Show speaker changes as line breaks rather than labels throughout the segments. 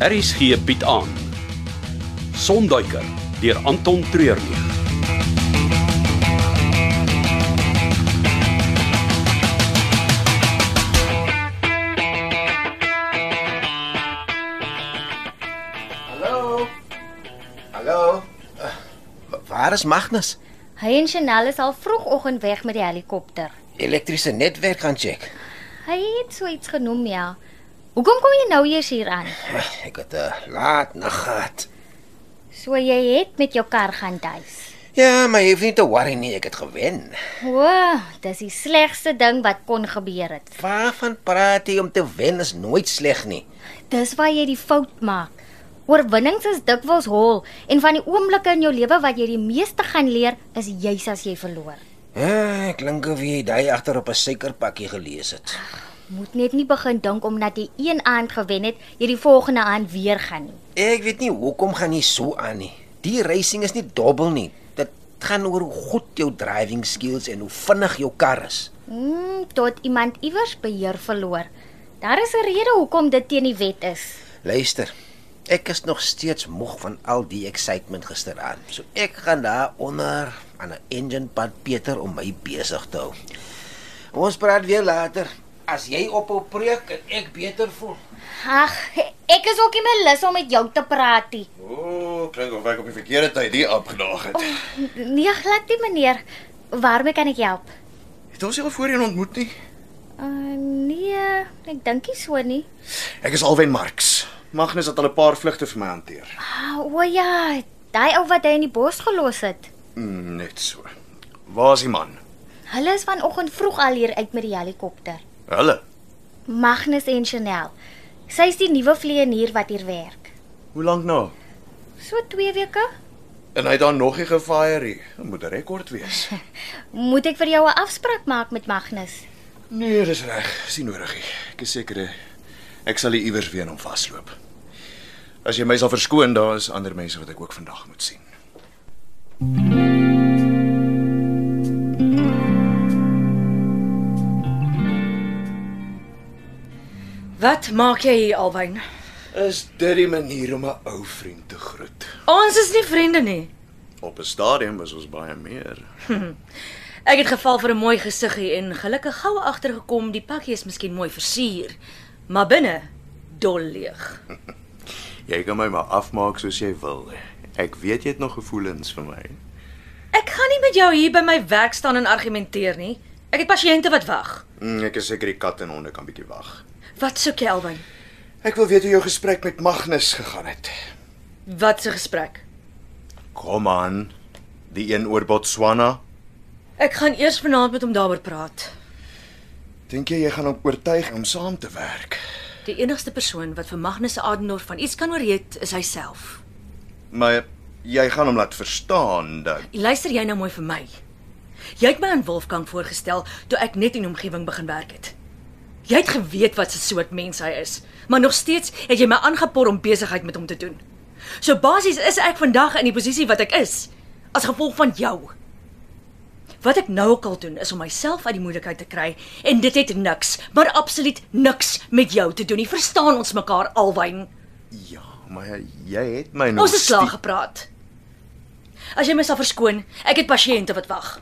RSG bied aan Sonduiker deur Anton Treurnig.
Hallo. Hallo. Uh, wa- waar is Magnus?
Hy en Chanel is al vroegoggend weg met die helikopter.
Elektriese netwerk gaan check.
Hy het so iets genoem, ja. Hoekom kom jy nou eers hier aan?
Ag, Ek het 'n laat nag gehad.
So jy het met jou kar gaan huis.
Ja, maar jy hoef nie te worry nie, ek het gewen.
O, dis die slegste ding wat kon gebeur het.
Waarvan praat jy om te wen is nooit sleg nie.
Dis waar jy die fout maak. Oorwinnings is dikwels hol en van die oomblikke in jou lewe wat jy die meeste gaan leer, is juis as jy verloor.
Ja, ek klink of jy daai agter op 'n suikerpakkie gelees het.
Moet net nie begin dink omdat jy een aand gewen het, jy die volgende aand weer gaan nie.
Ek weet nie hoekom gaan jy so aan nie. Die racing is nie dobbel nie. Dit gaan oor hoe goed jou driving skills en hoe vinnig jou kar is.
Hmm, tot iemand iewers beheer verloor. Daar is 'n rede hoekom dit teen die wet is.
Luister. Ek is nog steeds moeg van al die excitement gisteraand. So ek gaan daar onder aan 'n engine pad Pieter om my besig te hou. Ons praat weer later as jy op op preek en ek beter voel.
Ag, ek is ook nie meer lus om met jou te praat nie.
Ooh, klink of ek op die verkeerde tyd hier opgedaag het.
Nee, glad nie, meneer. Waarmee kan ek help?
Het ons jou al voorheen ontmoet nie?
Uh, nee, ek dink nie so nie.
Ek is Alwen Marx. Magnus het al 'n paar vlugte vir my hanteer.
Ah, o ja, daai ou wat hy in die bos gelos het.
Mm, net so. Waar is die man?
Hulle is vanoggend vroeg al hier uit met die helikopter.
Hulle.
Magnus en Chanel. Sy's die nuwe vleienier wat hier werk.
Hoe lank nou?
So 2 weke.
En hy het dan nog nie gefire nie. Dit moet 'n rekord wees.
Moet ek vir jou 'n afspraak maak met Magnus?
Nee, dis reg. Sien nodig. nie. Ek is seker eh, ek sal hier iewers weer aan hom vasloop. As jy my sal verskoon, daar is ander mense wat ek ook vandag moet sien.
Wat maak jy hier albyn?
Is dit die manier om 'n ou vriend te groet?
Ons is nie vriende nie.
Op 'n stadium was ons baie meer.
Ek het geval vir 'n mooi gesiggie en gelukkig gou agtergekom die pakkie is miskien mooi versier, maar binne dol leeg.
Jy kan my maar afmaak soos jy wil. Ek weet jy het nog gevoelens vir my.
Ek gaan nie met jou hier by my werk staan en argumenteer nie. Ek het pasiënte wat wag.
Mm, ek is seker die kat en honde kan bietjie wag.
Wat soek jy albyn?
Ek wil weet hoe jou gesprek met Magnus gegaan het.
Wat 'n gesprek.
Kom aan. Die een oor Botswana.
Ek gaan eers vanaand met hom daaroor praat.
Dink jy jy gaan hom oortuig om saam te werk?
Die enigste persoon wat vir Magnus Adendorf van iets kan oorreed is hy self.
Maar jy gaan hom laat verstaan dat
Luister jy nou mooi vir my. Jy het my aan Wolfgang voorgestel toe ek net in die omgewing begin werk het. Jy het geweet wat 'n soort mens hy is, maar nog steeds het jy my aangepor om besigheid met hom te doen. So basies is ek vandag in die posisie wat ek is as gevolg van jou. Wat ek nou ook al doen is om myself uit die moeilikheid te kry en dit het niks, maar absoluut niks met jou te doen nie. Verstaan ons mekaar albei?
ja, maar jy het my nog
Ons het
stie-
slaag gepraat. As jy my sal verskoon, ek het pasiënte wat wag.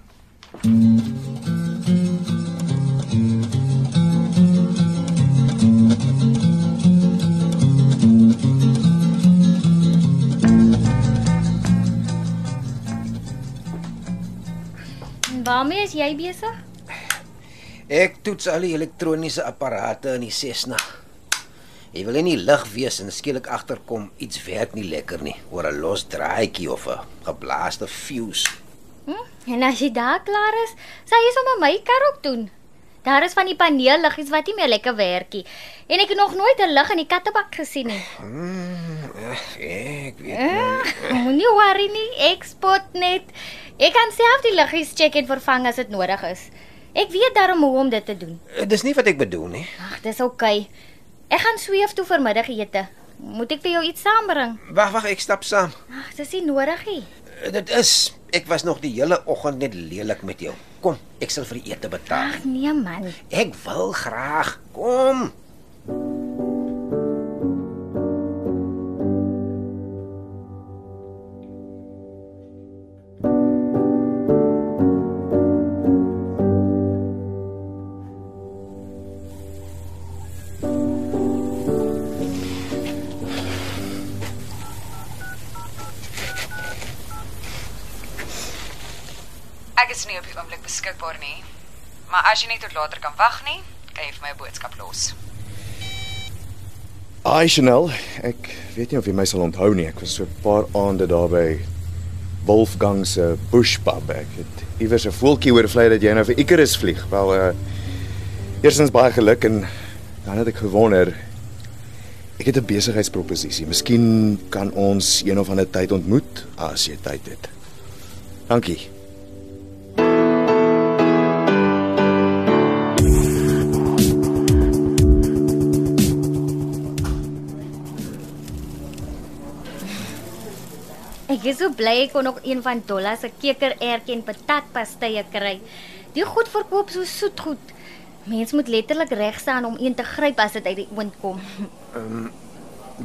Waarmee is jy besig?
Ek toets al die elektroniese apparate in die Cessna. Jy wil nie lig wees en skielik agterkom iets werk nie lekker nie, oor 'n los draadjie of 'n geblaaste fuse.
Hm? En as jy daar klaar is, sal jy sommer my kar op doen. Daar is van die paneelliggies wat nie meer lekker werk nie. En ek het nog nooit 'n lig in die kattebak gesien nie.
Ag, Hmm, ek weet.
Ag, Moenie worry nie, ek spot net. Ek kan self die liggies check en vervang as dit nodig is. Ek weet daarom hoe om dit te doen.
Eh, Dis nie wat ek bedoel nie.
Ag, dis oukei. Okay. Ek gaan sweef toe vir middagete. Moet ek vir jou iets saambring?
Wag, wag, ek stap saam.
Ag, dis nie nodig nie.
Eh, Dit is ek was nog die hele oggend net lelik met jou. Kom, ek sal vir die ete betaal.
Ag nee man.
Ek wil graag. Kom.
Ek is nie op die oomblik beskikbaar nie. Maar as jy net tot later kan wag nie, kan jy vir my 'n boodskap los.
Ai Chanel, ek weet nie of jy my sal onthou nie. Ek was so 'n paar aande daar by Wolfgang se bushpub. Ek het iewers 'n voeltjie hoor vlei dat jy nou vir Icarus vlieg. Wel, uh eersins baie geluk en dan het ek gewonder ek het 'n besigheidsproposisie. Miskien kan ons een of ander tyd ontmoet as jy tyd het. Dankie.
Ek is so bly ek kon nog een van Dolla se kekerertjie en patatpastye kry. Die goed verkoop so soet goed. Mens moet letterlik reg staan om een te gryp as dit uit die oond kom.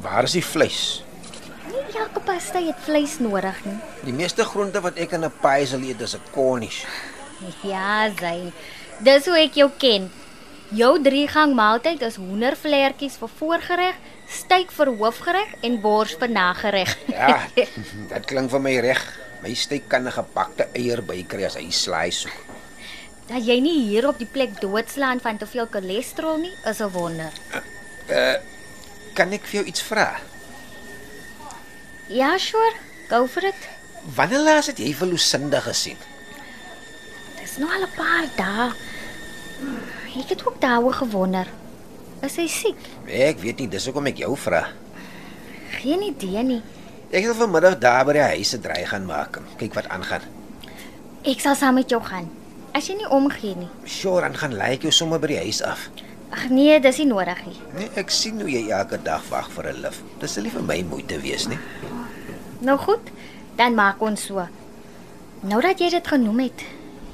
Waar is die vleis?
Nie elke pasty het vleis nodig nie.
Die meeste groente wat ek in 'n paai sal eet is 'n cornish.
Ja, sy. Dis hoe ek jou ken. Jou driegang maaltyd is hoendervleertjies vir voorgereg, steak vir hoofgereg en bors vir nagereg.
Ja, dit klink vir my reg. My steek kan 'n gepakte eier bykry as hy slaai soek.
Dat jy nie hier op die plek doodslaan van te veel cholesterol nie, is 'n wonder.
Kan ek vir jou iets vra?
Ja, sure. Go for it.
Wanneer laas het jy vir Lucinda gesien?
Dis nou al 'n paar dae. Hmm, Ek het ook daaroor gewonder. Is hy siek?
Ek weet nie, dis hoekom ek jou vra.
Geen idee nie.
Ek sal vanmiddag daar by die huis se draai gaan maak. en Kyk wat aangaan.
Ek sal saam met jou gaan. As jy nie omgee nie.
Sure, dan gaan lei ek jou sommer by die huis af.
Ag nee, dis nie nodig nie.
Nee, ek sien hoe jy elke dag wag vir 'n lif. Dis nie vir my moeite wees nie.
Nou goed, dan maak ons so. Nou dat jy dit genoem het,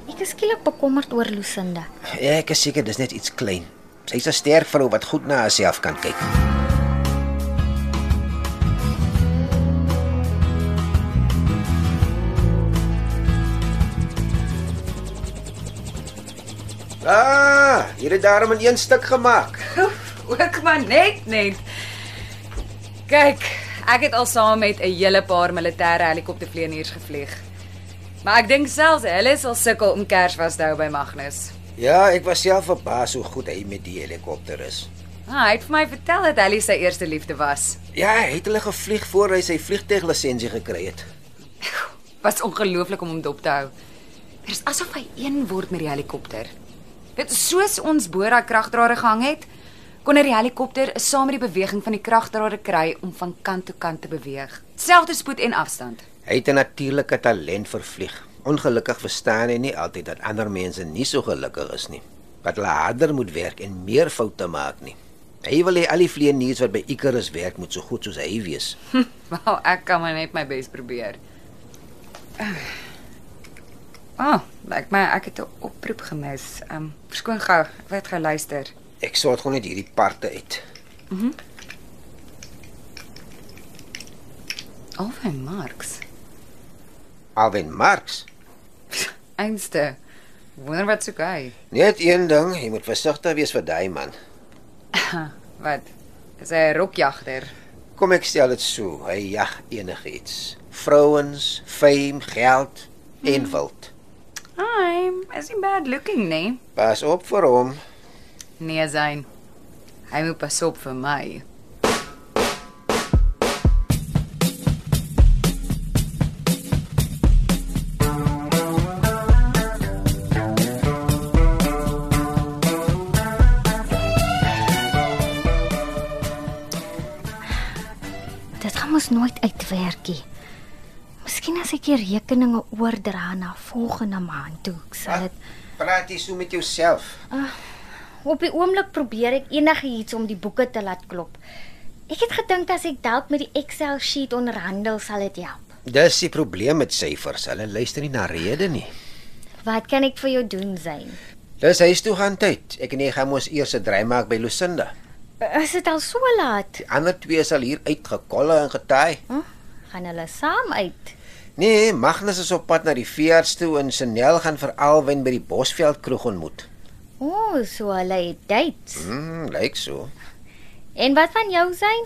ek is skielik bekommerd oor Lucinda.
Ja, Ek is seker dis net iets klein. Sy's 'n sterk vrou wat goed na haarself kan kyk. Ah, hier het daarom in een stuk gemaak.
Ook maar net net. Kyk, ek het al saam met 'n hele paar militêre helikoptervlieëniers gevlieg. Maar ek dink selfs hulle sal sukkel om Kersfees te hou by Magnus.
Ja, ek was self verbaas hoe goed hy met die helikopter is.
Ah, hy het vir my vertel dat Ellie sy eerste liefde was.
Ja, hy het hulle gevlieg voor hy sy vliegtuiglisensie gekry het.
Was ongelooflik om hom dop te hou. Dit is asof hy een word met die helikopter. Dit is soos ons bo daai kragdrade gehang het, kon hy die helikopter saam met die beweging van die kragdrade kry om van kant tot kant te beweeg. Selfde spoed en afstand.
Hy het 'n natuurlike talent vir vlieg. Ongelukkig verstaan hy nie altyd dat ander mense nie so gelukkig is nie. Dat hulle harder moet werk en meer foute maak nie. Hy wil hê al die vlieëniers wat by Icarus werk moet so goed soos hy wees.
Wel, ek kan maar net my bes probeer. Ah, oh, lyk my ek het 'n oproep gemis. Ehm, um, verskoon gou, ek wil net gou luister.
Ek sort gewoon net hierdie parte uit.
Alwyn Marx.
Alwen Marx.
Einste. Wonder wat soek hy?
Net een ding, jy moet versigtig wees vir daai man.
Wat? Is hy 'n rokjagter?
Kom ek stel dit so, hy jag enigiets. Vrouens, fame, geld en wild.
Hi, is nie bad looking nie.
Pas op vir hom.
Nee, Zain. Hy moet pas op vir my.
Dit gaan mos nooit uitwerk nie. Miskien as ek die rekeninge oordra na volgende maand toe, ek sal dit
Praat jy so met jouself?
Op die oomblik probeer ek enigiets om die boeke te laat klop. Ek het gedink as ek dalk met die Excel sheet onderhandel sal dit help.
Dis die probleem met syfers. Hulle luister nie na redes nie.
Wat kan ek vir jou doen, Zain?
Dis huis toe gaan tyd. Ek en jy gaan mos eers 'n draai maak by Lucinda.
Is dit al so laat?
Die ander twee sal hier uitgekolle en getaai.
Hm? Gaan hulle saam uit?
Nee, Magnus is op pad na die veearts toe en Chanel gaan vir Alwyn by die Bosveld kroeg ontmoet.
O, oh, so hulle het dates.
Mm, lyk so.
En wat van jou, Zain?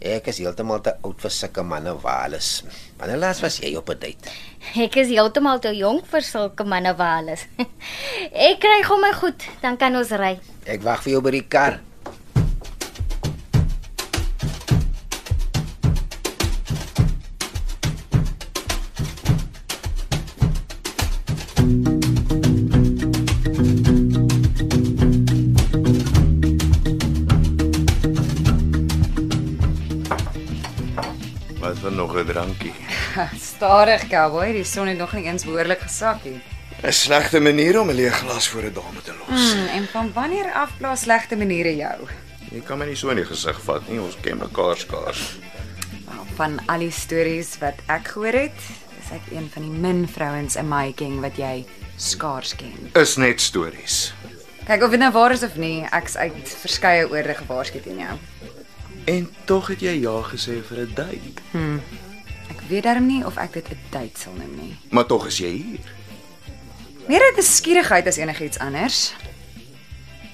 Ek is heeltemal te oud vir sulke manne waals. Wanneer laas was jy op 'n date?
Ek is heeltemal te jonk vir sulke manne waar alles. ek kry gou my goed, dan kan ons ry.
Ek wag vir jou by die kar.
Wat van nog 'n drankie?
Stadig, cowboy, die son het nog nie eens behoorlik gesak nie.
'n Slegte manier om 'n leë glas voor 'n dame te los.
Hmm, en van wanneer af plaas slegte maniere jou?
Jy kan my nie so in die gesig vat nie. Ons ken mekaar skaars.
Wel, van al die stories wat ek gehoor het, is ek een van die min vrouens in my gang wat jy skaars ken.
Is net stories.
Kyk of dit nou waar is of nie, ek's uit verskeie oorde gewaarsku teen jou.
En tog het jy ja gesê vir 'n date.
Ek weet darm nie of ek dit 'n date sal noem nie.
Maar tog is jy hier.
Meer uit 'n skierigheid as enigiets anders.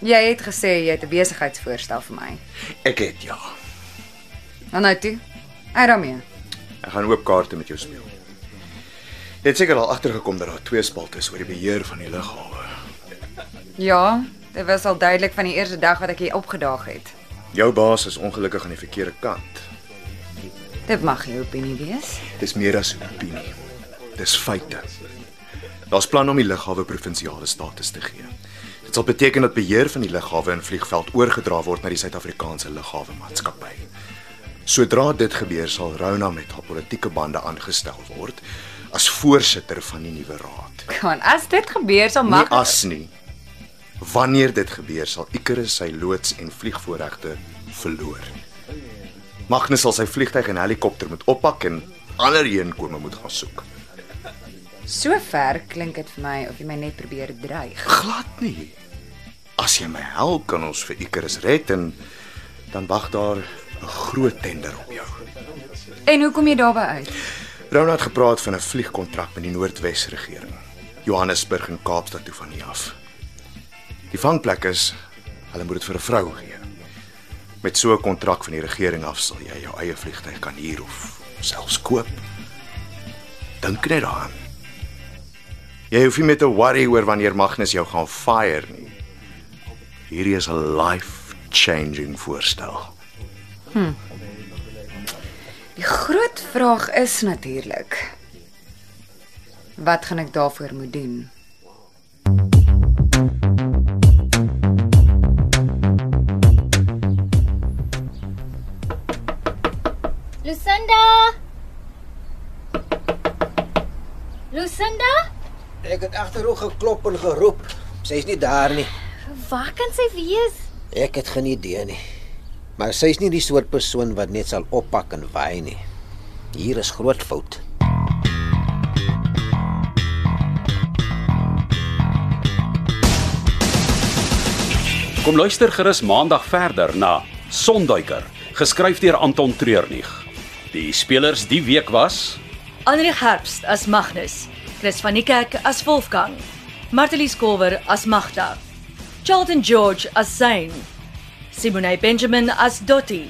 Jy het gesê jy het 'n besigheidsvoorstel vir my.
Ek het ja.
Nou nou toe. Uit daarmee.
Ek gaan oop kaarte met jou speel. Jy het seker al agtergekom dat daar twee spalte is oor die beheer van die lughawe.
Ja, dit was al duidelik van die eerste dag wat ek hier opgedaag het.
Jou baas is ongelukkig aan die verkeerde kant.
Dit mag jou opinie wees.
Dis meer as 'n opinie. Dis feite. Daar's plan om die lughawe provinsiale status te gee. Dit sal beteken dat beheer van die lughawe en vliegveld oorgedra word na die Suid-Afrikaanse Lughawe Maatskappy. Sodra dit gebeur sal Rona met haar politieke bande aangestel word as voorsitter van die nuwe raad.
Kan as dit gebeur sal
Nie
mag
as nie. Wanneer dit gebeur sal Icarus sy loods en vliegvoorregte verloor. Magnus sal sy vliegtyg en helikopter moet oppak en ander heenkome moet gaan soek.
So ver klink dit vir my of jy my net probeer dreig.
Glad nie. As jy my help kan ons vir Icarus red en dan wag daar 'n groot tender op jou.
En hoe kom jy daarby uit?
Rona het gepraat van 'n vliegkontrak met die Noordwes regering. Johannesburg en Kaapstad toe van hier af. Die vangplek is hulle moet dit vir 'n vrou gee. Met so 'n kontrak van die regering af sal jy jou eie vliegtyg kan huur of selfs koop. Dink net daaraan. Jy hoef nie meer te worry oor wanneer Magnus jou gaan fire nie. Hierdie is 'n life-changing voorstel.
Die groot vraag is natuurlik wat gaan ek daarvoor moet doen?
Lucinda! Lucinda?
Ek het agterop geklop en geroep. Sy's nie daar nie.
Waar kan sy wees?
Ek het geen idee nie. Maar sy's nie die soort persoon wat net sal oppak en waai nie. Hier is groot fout.
Kom luister gerus maandag verder na Sonduiker, geskryf deur Anton Treurnig. Die spelers die week was
Andri Herbst as Magnus, Chris van die Kerk as Wolfgang, Martelies Kolwer as Magda, Charlton George as Zain, Simone Benjamin as Dotty,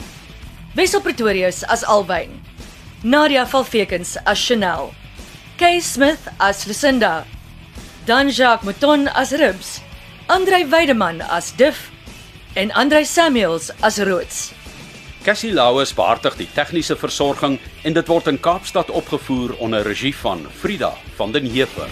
Wessel Pretorius as Albyn, Nadia Valfekens as Chanel, Kay Smith as Lucinda, Dan Jacques Mouton as Ribs, Andrei Weideman as Diff en Andrei Samuels as Roots.
Cassie Lauers behartig die tegniese versorging en dit word in Kaapstad opgevoer onder regie van Frida van den Heever.